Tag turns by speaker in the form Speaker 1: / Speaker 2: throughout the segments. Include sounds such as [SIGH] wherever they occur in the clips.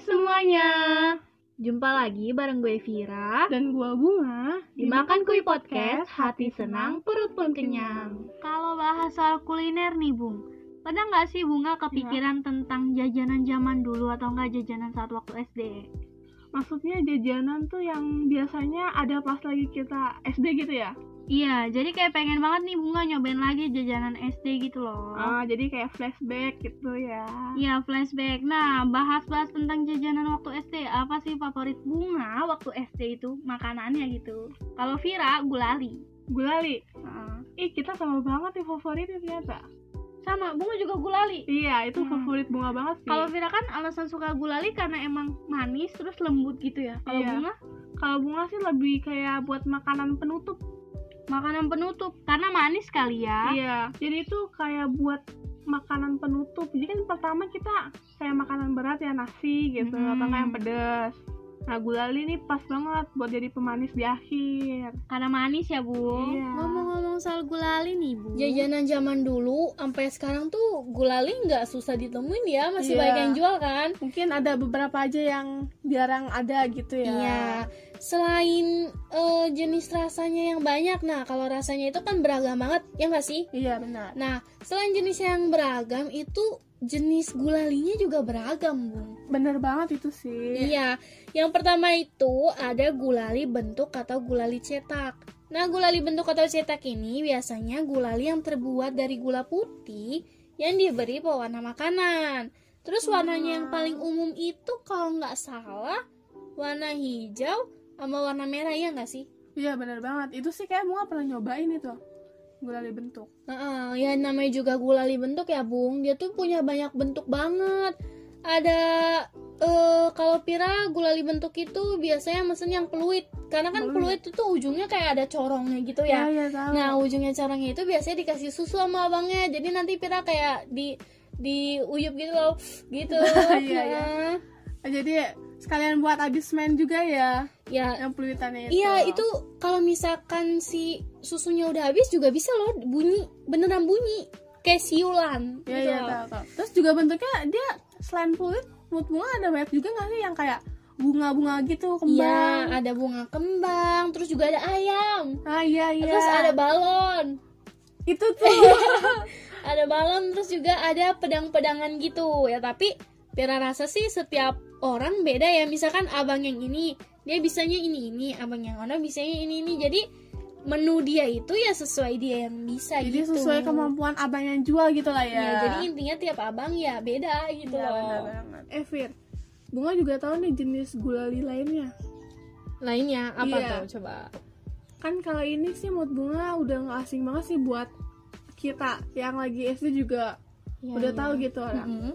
Speaker 1: semuanya.
Speaker 2: Jumpa lagi bareng gue Vira.
Speaker 1: Dan gua Bunga
Speaker 2: Dimakan Kui Podcast, hati senang, perut pun kenyang.
Speaker 3: Kalau bahas soal kuliner nih, Bung. Pernah nggak sih Bunga kepikiran tentang jajanan zaman dulu atau nggak jajanan saat waktu SD?
Speaker 1: Maksudnya jajanan tuh yang biasanya ada pas lagi kita SD gitu ya?
Speaker 3: Iya, jadi kayak pengen banget nih Bunga nyobain lagi jajanan SD gitu loh.
Speaker 1: Ah, jadi kayak flashback gitu ya.
Speaker 3: Iya, flashback. Nah, bahas-bahas tentang jajanan waktu SD. Apa sih favorit Bunga waktu SD itu? Makanannya gitu. Kalau Vira, gulali.
Speaker 1: Gulali.
Speaker 3: Heeh.
Speaker 1: Ih, kita sama banget nih favoritnya ternyata.
Speaker 3: Sama, Bunga juga gulali.
Speaker 1: Iya, itu
Speaker 3: Hmm.
Speaker 1: favorit bunga banget sih.
Speaker 4: Iya.
Speaker 3: Kalau Vira kan alasan suka gulali karena emang manis terus lembut gitu ya. Kalau
Speaker 1: Iya.
Speaker 3: Bunga
Speaker 1: Kalau bunga sih lebih kayak buat makanan penutup.
Speaker 3: makanan penutup karena manis kali ya.
Speaker 1: Iya. Jadi itu kayak buat makanan penutup. Jadi kan pertama kita kayak makanan berat ya nasi gitu
Speaker 5: Mm-hmm.
Speaker 3: Hmm.
Speaker 1: atau nggak yang pedas. Nah, gulali ini pas banget buat jadi pemanis di akhir.
Speaker 3: Karena manis ya, Bung.
Speaker 1: Iya.
Speaker 2: Ngomong-ngomong soal gulali nih, Bu.
Speaker 4: Jajanan zaman dulu sampai sekarang tuh gulali nggak susah ditemuin ya,
Speaker 1: Iya.
Speaker 4: masih banyak yang jual kan?
Speaker 5: mungkin ada beberapa aja yang jarang ada gitu ya.
Speaker 4: Iya. Selain eh, jenis rasanya yang banyak, nah kalau rasanya itu kan beragam banget, ya nggak sih?
Speaker 5: Iya benar.
Speaker 4: Nah, selain jenis yang beragam itu jenis gulalinya juga beragam, Bung.
Speaker 5: Bener banget itu sih.
Speaker 4: Iya, yang pertama itu ada gulali bentuk atau gulali cetak. Nah, gulali bentuk atau cetak ini biasanya gulali yang terbuat dari gula putih yang diberi pewarna makanan. Terus warnanya yang paling umum itu kalau nggak salah warna hijau sama warna merah ya nggak sih?
Speaker 5: Iya bener banget. Itu sih kayak Bunga pernah nyobain itu. Gulali bentuk.
Speaker 4: Heeh, ya namanya juga gulali bentuk ya, Bung. Dia tuh punya banyak bentuk banget. Ada eh kalau Pira gulali bentuk itu biasanya mesen yang peluit. Karena kan peluit itu tuh ujungnya kayak ada corongnya gitu ya.
Speaker 5: Oh, Iya, iya tahu.
Speaker 4: Nah, ujungnya corongnya itu biasanya dikasih susu sama abangnya. Jadi nanti Pira kayak di di uyup gitu loh. Gitu.
Speaker 5: [LAUGHS] Iya, iya.
Speaker 4: Heeh.
Speaker 5: Jadi sekalian buat abis main juga ya
Speaker 4: Ya,
Speaker 5: yang peluitannya itu.
Speaker 4: Iya itu kalau misalkan si susunya udah habis juga bisa loh bunyi beneran bunyi kayak siulan
Speaker 5: Iya
Speaker 4: gitu
Speaker 5: iya
Speaker 4: loh.
Speaker 5: tahu, tahu. Terus juga bentuknya dia selain peluit, menurut Bunga ada banyak juga nggak sih yang kayak bunga-bunga gitu
Speaker 4: Iya,
Speaker 5: kembang.
Speaker 4: ada bunga kembang, terus juga ada ayam,
Speaker 5: Ah iya iya.
Speaker 4: terus ada Gitu. balon,
Speaker 5: itu
Speaker 4: [LAUGHS]
Speaker 5: tuh.
Speaker 4: ada balon, terus juga ada pedang-pedangan gitu ya. Tapi Pira rasa sih setiap orang beda ya. Misalkan abang yang ini dia bisanya ini ini, abang yang ono bisanya ini ini. Jadi menu dia itu ya sesuai dia yang bisa
Speaker 5: [LAUGHS] Jadi
Speaker 4: gitu.
Speaker 5: sesuai kemampuan abang yang jual gitu lah ya.
Speaker 4: Ya, jadi intinya tiap abang ya beda gitu
Speaker 5: Iya, benar
Speaker 4: loh.
Speaker 5: banget. Eh, Fir, Bunga juga tahu nih jenis gulali lainnya.
Speaker 4: Lainnya apa
Speaker 5: Iya.
Speaker 4: tuh coba?
Speaker 5: Kan kalau ini sih mood Bunga udah nggak asing banget sih buat kita yang lagi SD juga udah tahu gitu orang.
Speaker 4: Iya, Mm-mm.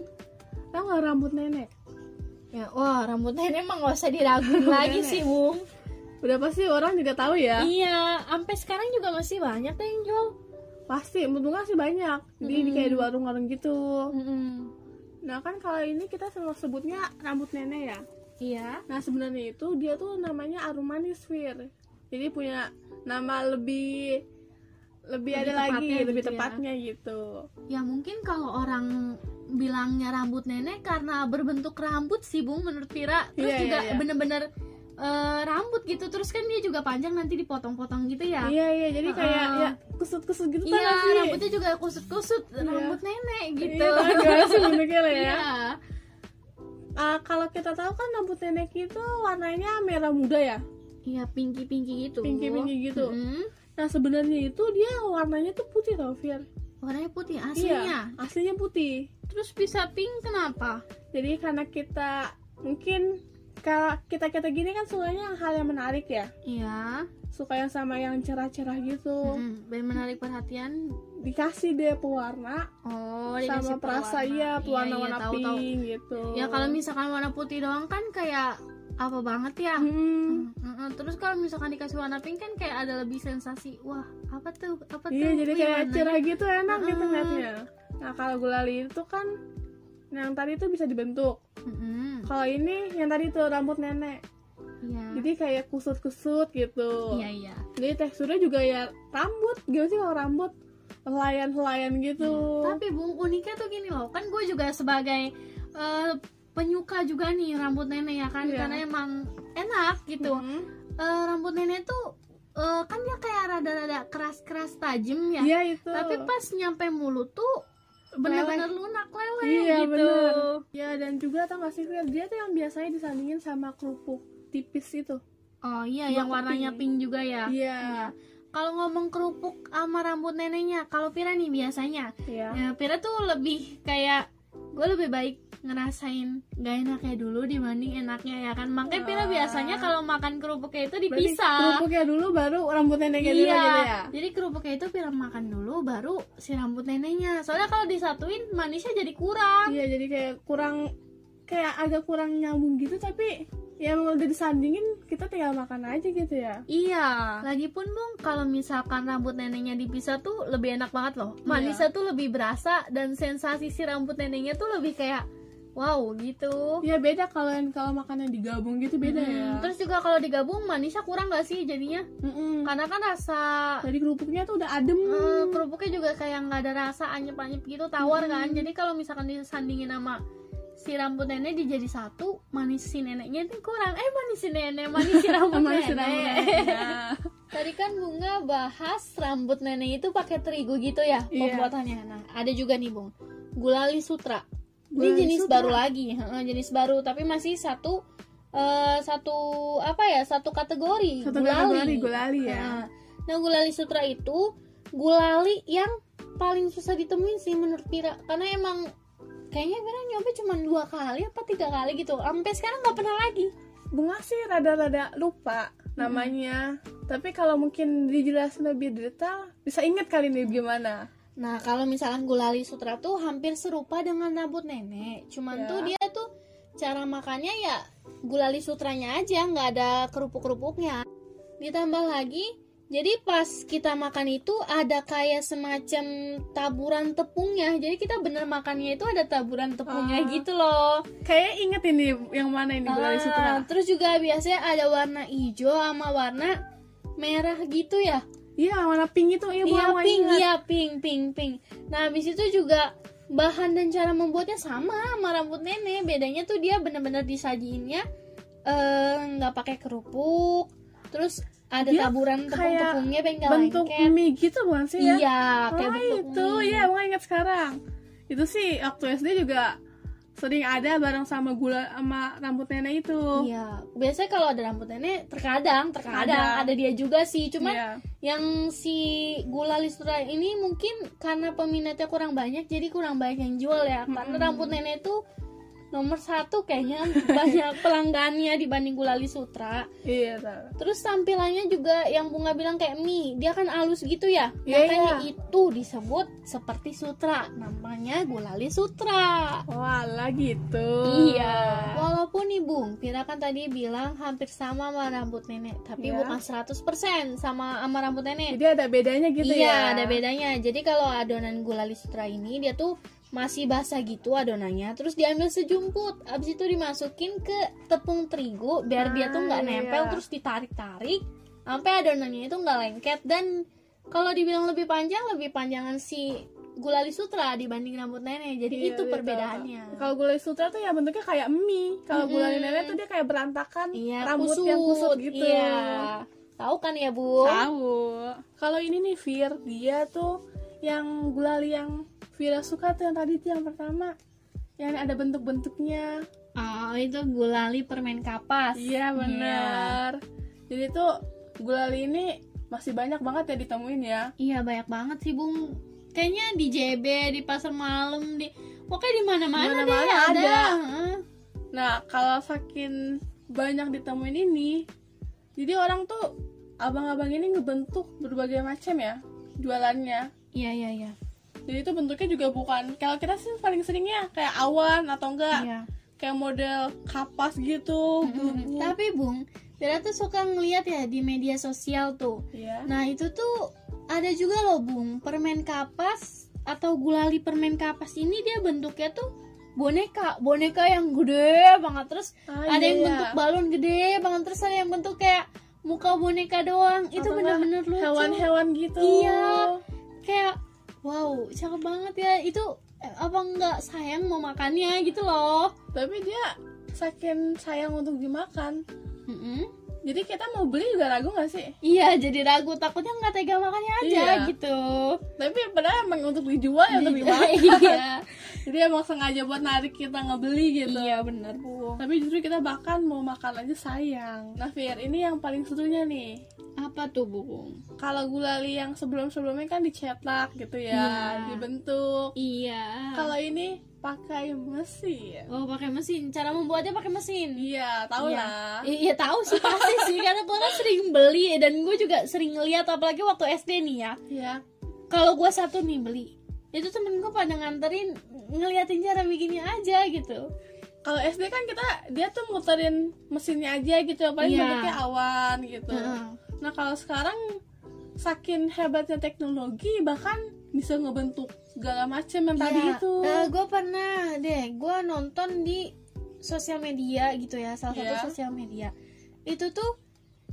Speaker 5: Tahu nggak rambut nenek?
Speaker 4: Mm-hmm. Ya, wah rambut nenek emang gak usah diraguin lagi sih, Bung.
Speaker 5: Udah pasti orang juga tahu ya.
Speaker 4: Iya, sampai sekarang juga masih banyak deh yang jual.
Speaker 5: Pasti mood Bunga sih banyak. Di, di kayak di warung-warung gitu. Nah, kan kalau ini kita selalu sebutnya rambut nenek ya.
Speaker 4: Iya.
Speaker 5: Nah, sebenarnya itu dia tuh namanya arum manis, Fir. Jadi punya nama lebih lebih, ada lagi,
Speaker 2: tepatnya
Speaker 5: lebih
Speaker 2: gitu ya.
Speaker 5: tepatnya gitu.
Speaker 2: Ya mungkin kalau orang bilangnya rambut nenek karena berbentuk rambut sih Bung menurut Vira. Terus
Speaker 5: Iya, iya,
Speaker 2: juga
Speaker 5: iya.
Speaker 2: bener-bener eh, rambut gitu. Terus kan dia juga panjang nanti dipotong-potong gitu ya.
Speaker 5: Iya iya jadi kayak
Speaker 2: Heeh.
Speaker 5: ya kusut-kusut gitu tau
Speaker 2: Iya,
Speaker 5: gak sih?
Speaker 2: rambutnya juga kusut-kusut, rambut nenek gitu.
Speaker 5: Iya, tau gimana sih bentuknya lah ya.
Speaker 2: Iya.
Speaker 5: Ah, kalau kita tahu kan rambut nenek itu warnanya merah muda ya,
Speaker 2: Iya, pinky-pinky gitu.
Speaker 5: pinky-pinky gitu.
Speaker 2: Mm-mm.
Speaker 5: Nah sebenarnya itu dia warnanya tuh putih tau Fir.
Speaker 2: Warnanya putih aslinya.
Speaker 5: Iya, aslinya putih.
Speaker 2: Terus bisa pink kenapa?
Speaker 5: Jadi karena kita mungkin kalau kita kita gini kan sukanya yang hal yang menarik ya,
Speaker 2: Iya.
Speaker 5: suka yang sama yang cerah-cerah gitu.
Speaker 2: Mm-mm. Biar menarik perhatian.
Speaker 5: Dikasih deh pewarna
Speaker 2: Mm-hmm. Oh,
Speaker 5: sama
Speaker 2: dikasih
Speaker 5: perasa
Speaker 2: pewarna.
Speaker 5: iya,
Speaker 2: iya,
Speaker 5: pewarna-warna
Speaker 2: tahu, tahu.
Speaker 5: pink gitu.
Speaker 2: Ya kalau misalkan warna putih doang kan kayak apa banget ya?
Speaker 5: Hmm.
Speaker 2: Mm-mm. Terus kalau misalkan dikasih warna pink kan kayak ada lebih sensasi. Wah, apa tuh? Apa tuh?
Speaker 5: Iya jadi
Speaker 2: Wih,
Speaker 5: kayak
Speaker 2: warnanya. Mm-hmm.
Speaker 5: cerah gitu enak gitu
Speaker 2: Heeh.
Speaker 5: ngeliatnya. Nah kalau gulali itu kan yang tadi itu bisa dibentuk.
Speaker 2: Mm-mm.
Speaker 5: Kalau ini yang tadi tuh rambut nenek.
Speaker 2: Hmm, Iya.
Speaker 5: Jadi kayak kusut-kusut gitu.
Speaker 2: Iya, iya.
Speaker 5: Jadi teksturnya juga ya rambut. Gimana sih kalau rambut helayan-helayan gitu.
Speaker 2: Tapi Bung uniknya tuh gini loh, kan gue juga sebagai eh,
Speaker 4: penyuka juga nih rambut nenek ya kan
Speaker 5: Iya.
Speaker 4: karena emang enak gitu
Speaker 5: Hmm.
Speaker 4: Eh, rambut nenek tuh eh, kan dia kayak rada-rada keras-keras tajam ya
Speaker 5: Iya itu.
Speaker 4: tapi pas nyampe mulut tuh bener-bener lunak leleh
Speaker 5: Iya,
Speaker 4: gitu
Speaker 5: bener. Ya dan juga tau gak sih Fir, dia tuh yang biasanya disandingin sama kerupuk tipis itu.
Speaker 4: oh iya
Speaker 5: Sama
Speaker 4: yang warnanya
Speaker 5: kuping.
Speaker 4: pink juga ya
Speaker 5: Iya.
Speaker 4: kalau ngomong kerupuk sama rambut neneknya kalau Pira nih biasanya
Speaker 5: Iya.
Speaker 4: ya, Pira tuh lebih kayak gue lebih baik ngerasain gak enaknya dulu dibanding enaknya ya kan makanya Pira biasanya kalau makan kerupuknya itu
Speaker 5: Ah. Berarti
Speaker 4: dipisah
Speaker 5: Kerupuknya dulu baru rambut neneknya dulu
Speaker 4: iya
Speaker 5: gitu ya.
Speaker 4: jadi kerupuknya itu Pira makan dulu baru si rambut neneknya soalnya kalau disatuin manisnya jadi kurang
Speaker 5: Iya jadi kayak kurang kayak agak kurang nyambung gitu tapi ya mau udah disandingin kita tinggal makan aja gitu ya.
Speaker 4: Iya. Lagipun Bung, kalau misalkan rambut neneknya dipisah tuh lebih enak banget loh.
Speaker 5: Iya.
Speaker 4: Manisnya tuh lebih berasa dan sensasi si rambut neneknya tuh lebih kayak wow gitu.
Speaker 5: Iya beda kalau yang kalau makannya digabung gitu beda
Speaker 4: Hmm,
Speaker 5: ya.
Speaker 4: Terus juga kalau digabung manisnya kurang gak sih jadinya?
Speaker 5: Mm-mm.
Speaker 4: Karena kan rasa
Speaker 5: Dari kerupuknya tuh udah adem.
Speaker 4: eh, kerupuknya juga kayak nggak ada rasa anyep-anyep gitu tawar
Speaker 5: Hmm.
Speaker 4: kan. Jadi kalau misalkan disandingin sama si rambut nenek dijadi satu, manis si neneknya itu kurang. Eh manis si nenek, manis si
Speaker 5: [LAUGHS]
Speaker 4: rambut
Speaker 5: Sama
Speaker 4: nenek.
Speaker 5: si rambut neneknya.
Speaker 4: Tadi kan Bunga bahas rambut nenek itu pakai terigu gitu ya
Speaker 5: Iya.
Speaker 4: pembuatannya. Nah, ada juga nih Bung, gulali sutra.
Speaker 5: Gulali
Speaker 4: Ini jenis
Speaker 5: sutra.
Speaker 4: baru lagi, heeh, jenis baru tapi masih satu eh, satu apa ya? Satu kategori
Speaker 5: Satu
Speaker 4: gulali.
Speaker 5: kategori gulali ya.
Speaker 4: Heeh. Nah, gulali sutra itu gulali yang paling susah ditemuin sih menurut Pira karena emang kayaknya Pira nyoba cuma dua kali apa tiga kali gitu. Sampai sekarang nggak pernah lagi.
Speaker 5: [LAUGHS] bunga sih rada-rada lupa namanya tapi kalau mungkin dijelasin lebih detail bisa inget kali nih gimana
Speaker 4: Nah, kalau misalkan gulali sutra tuh hampir serupa dengan rambut nenek. Cuman
Speaker 5: Ya.
Speaker 4: tuh dia tuh cara makannya ya gulali sutranya aja, nggak ada kerupuk-kerupuknya. Ditambah lagi, jadi pas kita makan itu ada kayak semacam taburan tepungnya. Jadi kita bener makannya itu ada taburan tepungnya gitu loh.
Speaker 5: kayak inget ini yang mana ini gulali
Speaker 4: Ah,
Speaker 5: sutra
Speaker 4: Terus juga biasanya ada warna hijau sama warna merah gitu ya.
Speaker 5: iya warna pink itu
Speaker 4: Iya
Speaker 5: iya bunga mau
Speaker 4: pink,
Speaker 5: ingat.
Speaker 4: iya pink, pink, pink. Nah habis itu juga bahan dan cara membuatnya sama sama rambut nenek. Bedanya tuh dia bener-bener disajiinnya eh, nggak pakai kerupuk, terus ada
Speaker 5: Dia
Speaker 4: taburan
Speaker 5: Iya, kayak
Speaker 4: tepung-tepungnya bengkel
Speaker 5: bentuk
Speaker 4: lengket.
Speaker 5: mie gitu bukan sih ya
Speaker 4: Iya, kayak
Speaker 5: oh,
Speaker 4: bentuk
Speaker 5: itu
Speaker 4: mie.
Speaker 5: iya bunga ingat sekarang itu sih waktu SD juga sering ada bareng sama gula sama rambut nenek itu
Speaker 4: Iya, biasanya kalau ada rambut nenek terkadang, terkadang
Speaker 5: Ada.
Speaker 4: ada dia juga sih. Cuman
Speaker 5: Iya.
Speaker 4: yang si gula listura ini mungkin karena peminatnya kurang banyak jadi kurang banyak yang jual ya karena rambut nenek tuh nomor satu kayaknya [LAUGHS] banyak pelanggannya dibanding gula listra
Speaker 5: iya tahu.
Speaker 4: terus tampilannya juga yang bunga bilang kayak mie dia kan halus gitu ya
Speaker 5: Iya,
Speaker 4: makanya
Speaker 5: iya.
Speaker 4: itu disebut seperti sutra namanya gulali sutra
Speaker 5: Walah gitu.
Speaker 4: Iya. Walaupun nih Bung, Pira kan tadi bilang hampir sama sama rambut nenek, tapi
Speaker 5: Iya.
Speaker 4: bukan 100% sama sama rambut nenek
Speaker 5: Jadi ada bedanya gitu
Speaker 4: iya,
Speaker 5: ya.
Speaker 4: ada bedanya. Jadi kalau adonan gulali sutra ini dia tuh masih basah gitu adonannya, terus diambil sejumput, abis itu dimasukin ke tepung terigu biar dia tuh nggak
Speaker 5: Ah,
Speaker 4: nempel,
Speaker 5: iya.
Speaker 4: terus ditarik-tarik sampai adonannya itu nggak lengket dan kalau dibilang lebih panjang, lebih panjangan si gulali sutra dibanding rambut nenek. Jadi
Speaker 5: Iya,
Speaker 4: itu
Speaker 5: iya,
Speaker 4: perbedaannya.
Speaker 5: tahu. Kalau gulai sutra tuh ya bentuknya kayak mie. Kalau
Speaker 4: Mm-mm.
Speaker 5: gulai nenek tuh dia kayak berantakan,
Speaker 4: Iya,
Speaker 5: rambut
Speaker 4: kusut,
Speaker 5: yang kusut gitu.
Speaker 4: Iya. Tahu kan ya, Bu?
Speaker 5: Tahu. Kalau ini nih Fir, dia tuh yang gulali yang Vira suka tuh yang tadi tuh yang pertama. Yang ada bentuk-bentuknya.
Speaker 4: Oh, itu gulali permen kapas.
Speaker 5: Iya, benar. Iya. Jadi tuh gulali ini masih banyak banget ya ditemuin ya.
Speaker 4: Iya, banyak banget sih, Bung. Kayaknya di JB, di pasar malam, di pokoknya di mana-mana deh
Speaker 5: Mana-mana
Speaker 4: ada.
Speaker 5: ada.
Speaker 4: Heeh.
Speaker 5: Nah, kalau saking banyak ditemuin ini, jadi orang tuh abang-abang ini ngebentuk berbagai macam ya jualannya.
Speaker 4: Iya, iya, iya.
Speaker 5: Jadi itu bentuknya juga bukan kalau kita sih paling seringnya kayak awan atau enggak
Speaker 4: Iya.
Speaker 5: kayak model kapas gitu,
Speaker 4: Mm-mm.
Speaker 5: gubu.
Speaker 4: Tapi, Bung, Bella tuh suka ngeliat ya di media sosial tuh.
Speaker 5: Iya.
Speaker 4: Nah, itu tuh ada juga loh, Bung, permen kapas atau gulali permen kapas ini dia bentuknya tuh boneka, boneka yang gede banget terus
Speaker 5: Ah,
Speaker 4: ada
Speaker 5: iya,
Speaker 4: yang
Speaker 5: iya.
Speaker 4: bentuk balon gede banget terus ada yang bentuk kayak muka boneka doang itu
Speaker 5: Atau enggak
Speaker 4: bener-bener lucu
Speaker 5: hewan-hewan gitu.
Speaker 4: Iya. kayak wow cakep banget ya itu eh, apa nggak sayang mau makannya gitu loh
Speaker 5: tapi dia saking sayang untuk dimakan
Speaker 4: Mm-mm.
Speaker 5: jadi kita mau beli juga ragu nggak sih
Speaker 4: Iya, jadi ragu takutnya nggak tega makannya aja
Speaker 5: Iya.
Speaker 4: gitu.
Speaker 5: tapi padahal emang untuk dijual ya
Speaker 4: [LAUGHS]
Speaker 5: untuk dimakan
Speaker 4: iya,
Speaker 5: jadi emang sengaja buat narik kita ngebeli gitu
Speaker 4: iya benar bu.
Speaker 5: tapi justru kita bahkan mau makan aja sayang nah Fir ini yang paling serunya nih
Speaker 4: Apa tuh bu?
Speaker 5: kalau gulali yang sebelum-sebelumnya kan dicetak gitu ya
Speaker 4: Iya.
Speaker 5: dibentuk
Speaker 4: Iya.
Speaker 5: kalau ini pakai mesin
Speaker 4: Oh pakai mesin, cara membuatnya pakai mesin.
Speaker 5: iya tau
Speaker 4: Iya.
Speaker 5: lah
Speaker 4: I- Iya tahu sih pasti sih karena gue kan sering beli dan gue juga sering lihat apalagi waktu SD nih ya.
Speaker 5: iya
Speaker 4: Kalau gue satu nih beli, itu temen gue pada nganterin ngeliatin cara bikinnya aja gitu.
Speaker 5: kalau SD kan kita dia tuh muterin mesinnya aja gitu paling
Speaker 4: Iya.
Speaker 5: bentuknya awan gitu
Speaker 4: Heeh.
Speaker 5: nah kalau sekarang saking hebatnya teknologi bahkan bisa ngebentuk segala macam yang tadi itu
Speaker 4: gue Iya. Eh, pernah deh, gue nonton di sosial media gitu ya, salah satu
Speaker 5: Iya.
Speaker 4: sosial media. Itu tuh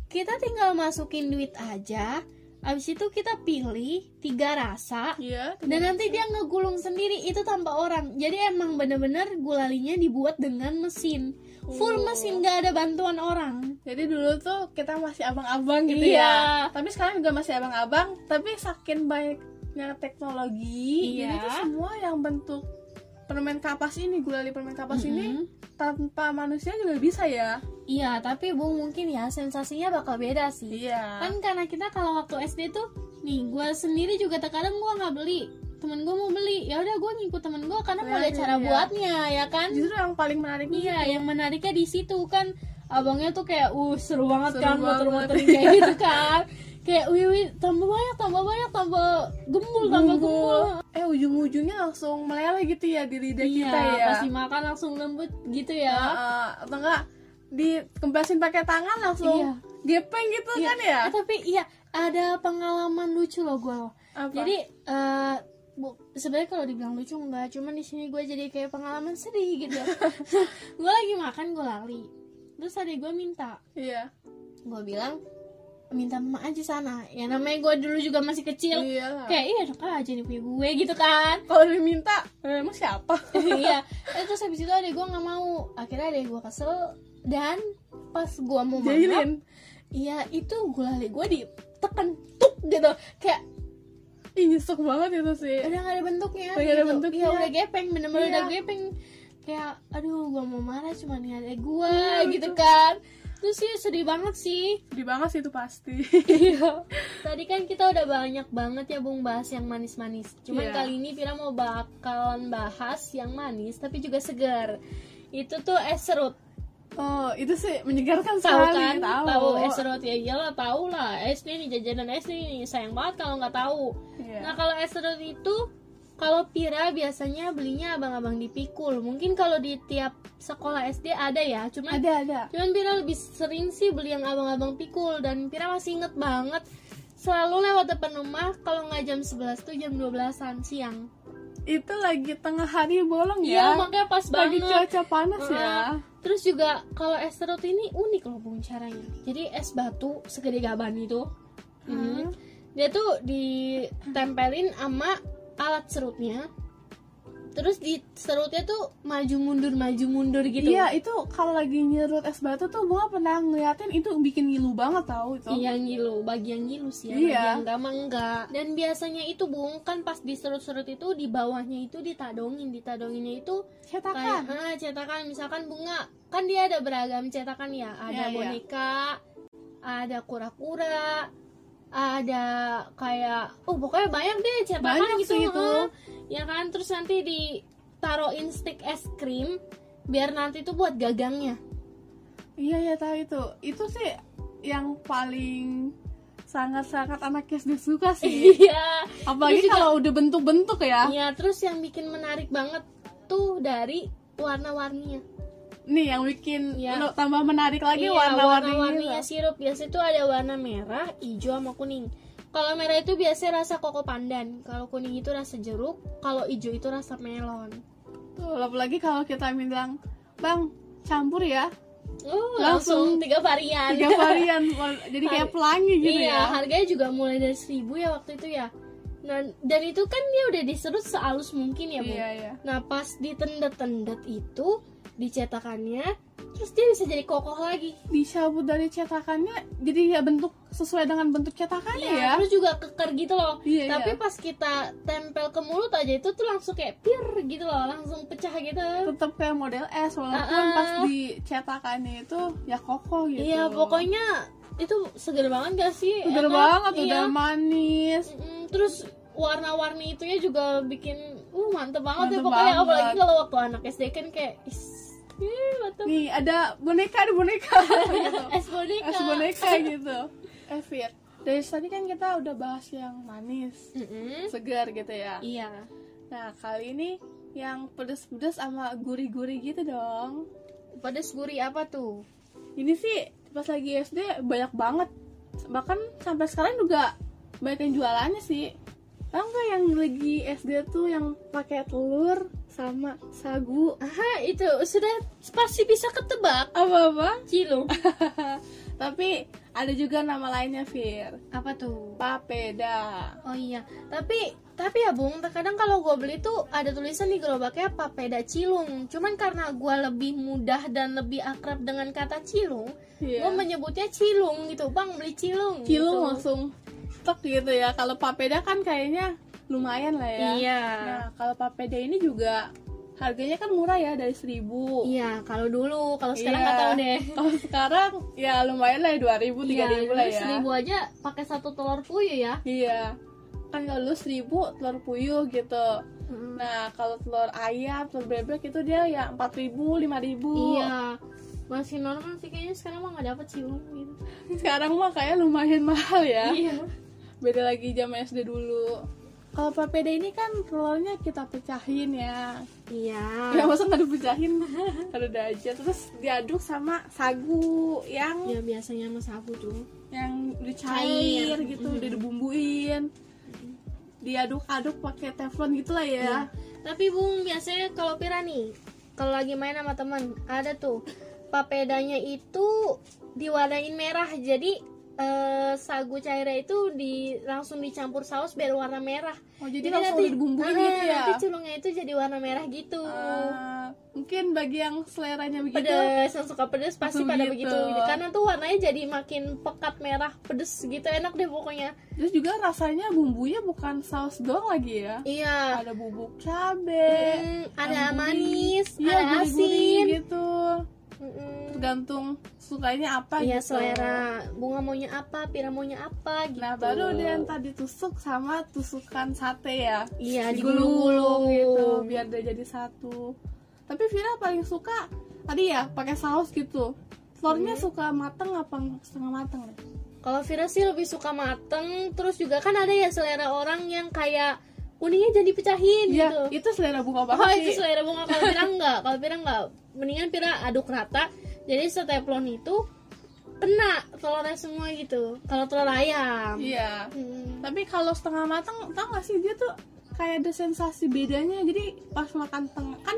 Speaker 4: kita tinggal masukin duit aja, abis itu kita pilih tiga rasa,
Speaker 5: iya
Speaker 4: dan nanti dia ngegulung sendiri itu tanpa orang jadi emang bener-bener gulalinya dibuat dengan mesin full
Speaker 5: Oh.
Speaker 4: mesin gak ada bantuan orang
Speaker 5: jadi dulu tuh kita masih abang-abang gitu
Speaker 4: Iya.
Speaker 5: ya tapi sekarang juga masih abang-abang tapi saking banyaknya teknologi
Speaker 4: Iya.
Speaker 5: jadi tuh semua yang bentuk permen kapas ini gulali permen kapas ini
Speaker 4: Mm-mm.
Speaker 5: tanpa manusia juga bisa ya
Speaker 4: iya tapi bu mungkin ya sensasinya bakal beda sih
Speaker 5: iya
Speaker 4: kan karena kita kalau waktu SD tuh nih gue sendiri juga terkadang gue nggak beli temen gue mau beli ya udah gue ngikut temen gue karena mau ada
Speaker 5: Berarti,
Speaker 4: cara
Speaker 5: iya.
Speaker 4: buatnya ya kan
Speaker 5: justru yang paling menarik
Speaker 4: iya yang menariknya di situ kan abangnya tuh kayak uh seru banget
Speaker 5: Seru
Speaker 4: kan
Speaker 5: banget.
Speaker 4: muter-muterin kayak gitu kan kayak wiwi tambah banyak tambah banyak tambah gembul tambah gembul
Speaker 5: eh ujung-ujungnya langsung meleleh gitu ya di lidah
Speaker 4: iya
Speaker 5: kita ya
Speaker 4: pasti makan langsung lembut gitu
Speaker 5: Heeh,
Speaker 4: ya
Speaker 5: atau enggak dikemplasin pakai tangan langsung
Speaker 4: Iya.
Speaker 5: gepeng gitu
Speaker 4: Iya.
Speaker 5: kan ya
Speaker 4: Eh, tapi iya ada pengalaman lucu loh gue loh
Speaker 5: Apa?
Speaker 4: jadi eh bu sebenarnya kalau dibilang lucu enggak cuman di sini gue jadi kayak pengalaman sedih
Speaker 5: [LAUGHS]
Speaker 4: gitu gue lagi makan gue lali terus adik gue minta
Speaker 5: iya
Speaker 4: gue bilang minta emak aja sana ya namanya gue dulu juga masih kecil
Speaker 5: iya
Speaker 4: kayak iya enak aja nih punya gue gitu
Speaker 5: [LAUGHS]
Speaker 4: kan
Speaker 5: kalau diminta eh, emang
Speaker 4: [LAUGHS]
Speaker 5: siapa
Speaker 4: iya Eh, terus habis itu adek gue nggak mau akhirnya adek gue kesel dan pas gue
Speaker 5: [LAUGHS]
Speaker 4: mau makan
Speaker 5: jahilin
Speaker 4: iya itu gulali gue ditekan tuk gitu kayak
Speaker 5: ih nyesek banget itu sih
Speaker 4: udah gak ada bentuknya
Speaker 5: Udah nggak Oh, ada
Speaker 4: gitu.
Speaker 5: bentuknya.
Speaker 4: Iya, udah gepeng bener-bener
Speaker 5: Iya.
Speaker 4: udah gepeng kayak aduh gue mau marah cuman nih adek gue
Speaker 5: Iya,
Speaker 4: gitu kan terus sih sedih banget sih
Speaker 5: sedih banget sih itu pasti [LAUGHS]
Speaker 4: Iya. Tadi kan kita udah banyak banget ya Bung bahas yang manis-manis. Cuman
Speaker 5: Iya.
Speaker 4: kali ini Vira mau bakalan bahas yang manis tapi juga segar. Itu tuh es serut.
Speaker 5: oh itu sih
Speaker 4: Tahu
Speaker 5: menyegarkan
Speaker 4: kan?
Speaker 5: sekali tahu
Speaker 4: Tahu es serut ya iyalah tahu lah. Es nih jajanan es nih sayang banget kalau nggak tahu.
Speaker 5: Iya.
Speaker 4: Nah, kalau es serut itu kalau Pira biasanya belinya abang-abang di pikul. Mungkin kalau di tiap sekolah SD ada ya. Cuman
Speaker 5: ada ada
Speaker 4: Cuman Pira lebih sering sih beli yang abang-abang pikul dan Pira masih inget banget selalu lewat depan rumah kalau nggak jam 11 tuh jam 12-an siang.
Speaker 5: itu lagi tengah hari bolong
Speaker 4: Iya,
Speaker 5: ya
Speaker 4: makanya pas
Speaker 5: lagi
Speaker 4: banget.
Speaker 5: cuaca panas ya
Speaker 4: Heeh. Terus juga kalau es serut ini unik loh bung caranya. Jadi es batu segede gaban itu. Hmm. Dia tuh ditempelin sama alat serutnya. Terus di serutnya tuh maju mundur maju mundur gitu.
Speaker 5: Iya itu kalau lagi nyerut es batu tuh gua pernah ngeliatin itu bikin ngilu banget tau itu.
Speaker 4: Iya ngilu, bagian ngilu sih ya,
Speaker 5: Iya.
Speaker 4: bagian enggak mah enggak. Dan biasanya itu bung kan pas diserut-serut itu di bawahnya itu ditadongin, ditadonginnya itu kayak
Speaker 5: Cetakan.
Speaker 4: ah, cetakan misalkan bunga kan dia ada beragam cetakan ya, ada
Speaker 5: Iya, iya.
Speaker 4: boneka, ada kura-kura, ada kayak oh pokoknya banyak deh cetakan
Speaker 5: Banyak
Speaker 4: gitu
Speaker 5: sih itu.
Speaker 4: heeh. ya kan terus nanti ditaruhin stick es krim biar nanti tuh buat gagangnya
Speaker 5: Iya ya tahu itu. Itu sih yang paling sangat-sangat anak SD suka sih.
Speaker 4: iya
Speaker 5: Apalagi
Speaker 4: Terus juga-
Speaker 5: kalau udah bentuk-bentuk ya.
Speaker 4: Iya, terus yang bikin menarik banget tuh dari warna-warninya.
Speaker 5: Nih yang bikin
Speaker 4: Iya.
Speaker 5: lo tambah menarik
Speaker 4: Iya,
Speaker 5: lagi warna-warninya. gitu.
Speaker 4: sirup. Biasanya tuh ada warna merah, hijau sama kuning. Kalau merah itu biasanya rasa koko pandan, kalau kuning itu rasa jeruk, kalau hijau itu rasa melon.
Speaker 5: Tuh, apalagi kalau kita bilang, "Bang, campur ya."
Speaker 4: Uh,
Speaker 5: Langsung
Speaker 4: langsung, tiga varian.
Speaker 5: Tiga
Speaker 4: [LAUGHS]
Speaker 5: varian war- jadi kayak pelangi gitu
Speaker 4: iya,
Speaker 5: ya.
Speaker 4: harganya juga mulai dari seribu ya waktu itu ya. Dan, dan itu kan dia udah diserut sehalus mungkin ya, Bu.
Speaker 5: Iya, iya.
Speaker 4: Nah, pas ditendet-tendet itu di cetakannya, terus dia bisa jadi kokoh lagi.
Speaker 5: Dicabut dari cetakannya, jadi ya bentuk sesuai dengan bentuk cetakannya ya.
Speaker 4: Iya. Terus juga keker gitu loh.
Speaker 5: Iya,
Speaker 4: Tapi
Speaker 5: iya.
Speaker 4: pas kita tempel ke mulut aja itu tuh langsung kayak pir gitu loh, langsung pecah gitu.
Speaker 5: tetap kayak model S walaupun
Speaker 4: Ah, ah.
Speaker 5: pas dicetakannya itu ya kokoh gitu.
Speaker 4: Iya, pokoknya itu seger banget gak sih?
Speaker 5: udah
Speaker 4: Enak,
Speaker 5: banget,
Speaker 4: iya.
Speaker 5: udah manis.
Speaker 4: Mm, terus warna-warni itunya juga bikin uh mantep banget ya
Speaker 5: Mantep
Speaker 4: pokoknya
Speaker 5: banget.
Speaker 4: apalagi kalau waktu anak SD kan kayak is, ih, mantep
Speaker 5: Nih ada boneka, ada boneka. gitu.
Speaker 4: es [LAUGHS] boneka.
Speaker 5: Es boneka gitu. Evit. Dari tadi kan kita udah bahas yang manis,
Speaker 4: Mm-mm.
Speaker 5: segar gitu ya.
Speaker 4: Hmm? Iya.
Speaker 5: Nah kali ini yang pedes-pedes sama gurih-gurih gitu dong.
Speaker 4: Pedes gurih apa tuh?
Speaker 5: Ini sih pas lagi SD banyak banget. Bahkan sampai sekarang juga banyak yang jualannya sih. Tahu nggak yang lagi SD tuh yang pakai telur sama sagu?
Speaker 4: Ah, itu sudah pasti bisa ketebak.
Speaker 5: Apa-apa? [LAUGHS]
Speaker 4: Cilung.
Speaker 5: Tapi ada juga nama lainnya, Fir.
Speaker 4: apa tuh?
Speaker 5: Papeda.
Speaker 4: Oh iya, tapi tapi ya Bung, terkadang kalau gue beli tuh ada tulisan di gerobaknya papeda cilung. Cuman karena gue lebih mudah dan lebih akrab dengan kata cilung,
Speaker 5: Iya.
Speaker 4: gue menyebutnya cilung gitu. Bang beli cilung.
Speaker 5: Cilung
Speaker 4: gitu.
Speaker 5: langsung tek gitu ya. Kalau papeda kan kayaknya lumayan lah ya.
Speaker 4: Iya.
Speaker 5: Nah, kalau papeda ini juga harganya kan murah ya dari seribu.
Speaker 4: Iya, kalau dulu, kalau sekarang nggak tahu deh.
Speaker 5: [LAUGHS]
Speaker 4: Iya,
Speaker 5: Kalau Iya. sekarang ya lumayan lah ya dua ribu, tiga ribu lah ya.
Speaker 4: seribu aja pakai satu telur puyuh ya.
Speaker 5: Iya. Kan kalau dulu seribu telur puyuh gitu. Nah, kalau telur ayam, telur bebek itu dia ya empat ribu, lima ribu.
Speaker 4: Iya, masih normal sih kayaknya sekarang mah nggak dapet cilung gitu.
Speaker 5: [LAUGHS] Sekarang mah kayak lumayan mahal ya.
Speaker 4: Iya.
Speaker 5: beda lagi zaman SD dulu kalau papeda ini kan telurnya kita pecahin ya
Speaker 4: Iya.
Speaker 5: ya masa nggak dipecahin taruh dah aja terus diaduk sama sagu yang
Speaker 4: Ya biasanya sama sabu tuh.
Speaker 5: yang dicair
Speaker 4: Cair. Mm-hmm.
Speaker 5: gitu udah dibumbuin diaduk-aduk pakai teflon gitu lah ya
Speaker 4: Iya. Tapi Bung biasanya kalau Pira nih kalau lagi main sama teman ada tuh papedanya itu diwarnain merah jadi eh, sagu cairnya itu di langsung dicampur saus biar warna merah.
Speaker 5: oh jadi, langsung udah dibumbuin
Speaker 4: ah,
Speaker 5: gitu ya
Speaker 4: Nanti culungnya itu jadi warna merah gitu.
Speaker 5: Ah, mungkin bagi yang seleranya begitu
Speaker 4: pedes yang suka pedes pasti
Speaker 5: Langsung
Speaker 4: pada
Speaker 5: gitu.
Speaker 4: begitu karena tuh warnanya jadi makin pekat merah pedes gitu enak deh pokoknya
Speaker 5: terus juga rasanya bumbunya bukan saus doang lagi ya
Speaker 4: iya
Speaker 5: ada bubuk cabe
Speaker 4: Hmm,
Speaker 5: yang
Speaker 4: ada
Speaker 5: gurih.
Speaker 4: manis
Speaker 5: Iya,
Speaker 4: ada
Speaker 5: gurih-gurih
Speaker 4: asin Hmm.
Speaker 5: gitu
Speaker 4: Mm-mm.
Speaker 5: tergantung sukanya apa
Speaker 4: Iya
Speaker 5: gitu
Speaker 4: selera bunga maunya apa, pira maunya apa gitu.
Speaker 5: nah baru deh yang tadi tusuk sama tusukan sate ya
Speaker 4: Iya
Speaker 5: digulung
Speaker 4: digulung
Speaker 5: gitu biar dia jadi satu tapi Vira paling suka tadi ya pakai saus gitu telurnya
Speaker 4: Iya.
Speaker 5: suka mateng apa setengah mateng ya?
Speaker 4: Kalau Vira sih lebih suka mateng, terus juga kan ada ya selera orang yang kayak kuningnya jadi pecahin
Speaker 5: Iya,
Speaker 4: gitu.
Speaker 5: itu selera bunga
Speaker 4: Oh
Speaker 5: banget
Speaker 4: itu
Speaker 5: sih
Speaker 4: selera bunga kalau
Speaker 5: [LAUGHS]
Speaker 4: Vira enggak, kalau Vira enggak. Mendingan Vira aduk rata. Jadi seteflon itu kena telurnya semua gitu. Kalau telur ayam.
Speaker 5: iya
Speaker 4: Hmm.
Speaker 5: tapi kalau setengah mateng tau gak sih dia tuh kayak ada sensasi bedanya jadi pas makan tengah kan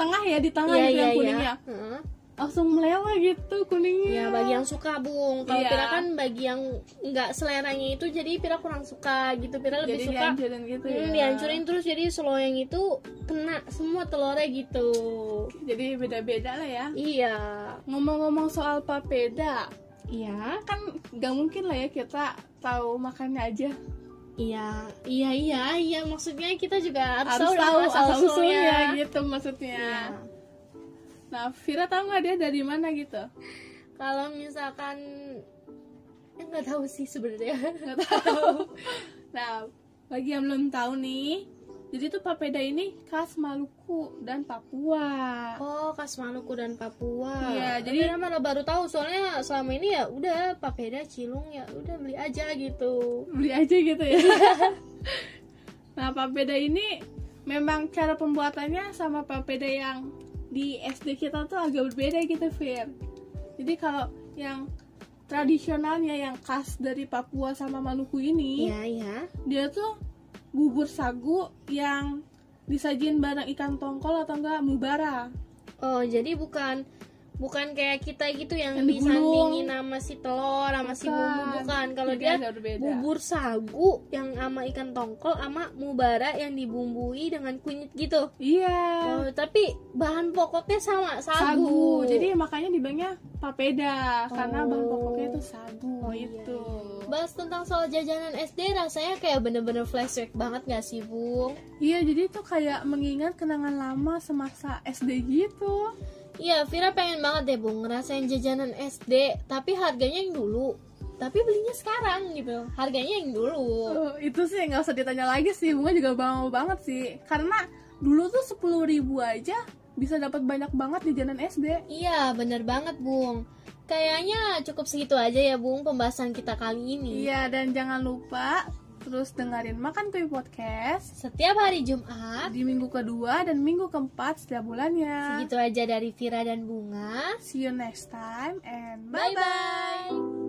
Speaker 5: tengah ya di tengah
Speaker 4: Iya
Speaker 5: gitu
Speaker 4: iya iya.
Speaker 5: yang kuningnya
Speaker 4: Heeh.
Speaker 5: langsung meleleh gitu kuningnya
Speaker 4: Ya bagi yang suka bung, kalau
Speaker 5: Iya.
Speaker 4: Pira kan bagi yang nggak seleranya itu jadi Pira kurang suka gitu, Pira lebih
Speaker 5: jadi
Speaker 4: suka
Speaker 5: dihancurin gitu ya
Speaker 4: hmm, dihancurin terus jadi seloyang itu kena semua telurnya gitu.
Speaker 5: jadi beda-beda lah ya
Speaker 4: Iya,
Speaker 5: ngomong-ngomong soal papeda
Speaker 4: iya,
Speaker 5: kan gak mungkin lah ya kita tahu makannya aja
Speaker 4: iya, iya, iya, iya. Maksudnya kita juga harus,
Speaker 5: harus tahu
Speaker 4: dong
Speaker 5: asal usulnya
Speaker 4: asal-usulnya.
Speaker 5: gitu maksudnya
Speaker 4: Iya.
Speaker 5: nah Vira tahu nggak dia dari mana gitu
Speaker 4: Kalau misalkan ya nggak tahu sih sebenarnya. [LAUGHS]
Speaker 5: nggak tahu nah bagi yang belum tahu nih jadi tuh papeda ini khas Maluku dan Papua
Speaker 4: Oh, khas Maluku dan Papua.
Speaker 5: Iya,
Speaker 4: jadi Tapi malah baru tahu soalnya selama ini ya udah papeda cilung ya udah beli aja gitu.
Speaker 5: beli aja gitu
Speaker 4: [LAUGHS]
Speaker 5: ya. nah, papeda ini memang cara pembuatannya sama papeda yang di SD kita tuh agak berbeda gitu, Fir. Jadi kalau yang tradisionalnya yang khas dari Papua sama Maluku ini,
Speaker 4: Iya, iya.
Speaker 5: dia tuh bubur sagu yang disajin bareng ikan tongkol atau enggak mubara.
Speaker 4: Oh, jadi bukan bukan kayak kita gitu yang,
Speaker 5: Yang digulung.
Speaker 4: disandingin sama si telur sama si bumbu
Speaker 5: Bukan. Iya,
Speaker 4: bukan kalau
Speaker 5: Jadi
Speaker 4: dia
Speaker 5: agak berbeda.
Speaker 4: bubur sagu yang sama ikan tongkol sama mubara yang dibumbui dengan kunyit gitu
Speaker 5: Iya.
Speaker 4: Oh, tapi bahan pokoknya sama sagu,
Speaker 5: Sagu. Jadi makanya dibilangnya papeda karena
Speaker 4: Oh. Iya,
Speaker 5: bahan pokoknya itu sagu Oh, gitu. itu.
Speaker 4: bahas tentang soal jajanan SD rasanya kayak bener-bener flashback banget gak sih Bung?
Speaker 5: Iya, jadi itu kayak mengingat kenangan lama semasa SD gitu.
Speaker 4: Iya, Vira pengen banget deh Bung ngerasain jajanan SD, tapi harganya yang dulu. Tapi belinya sekarang gitu. Harganya yang dulu.
Speaker 5: Oh, itu sih nggak usah ditanya lagi sih bunga juga mau banget sih karena dulu tuh sepuluh ribu aja bisa dapat banyak banget di jalan SD
Speaker 4: Iya, bener banget Bung. Kayaknya cukup segitu aja ya Bung pembahasan kita kali ini.
Speaker 5: iya dan jangan lupa terus dengerin makan kuy podcast
Speaker 4: Setiap hari Jumat,
Speaker 5: di minggu kedua dan minggu keempat setiap bulannya
Speaker 4: segitu aja dari Vira dan Bunga.
Speaker 5: see you next time and bye
Speaker 4: Bye
Speaker 5: bye
Speaker 4: bye.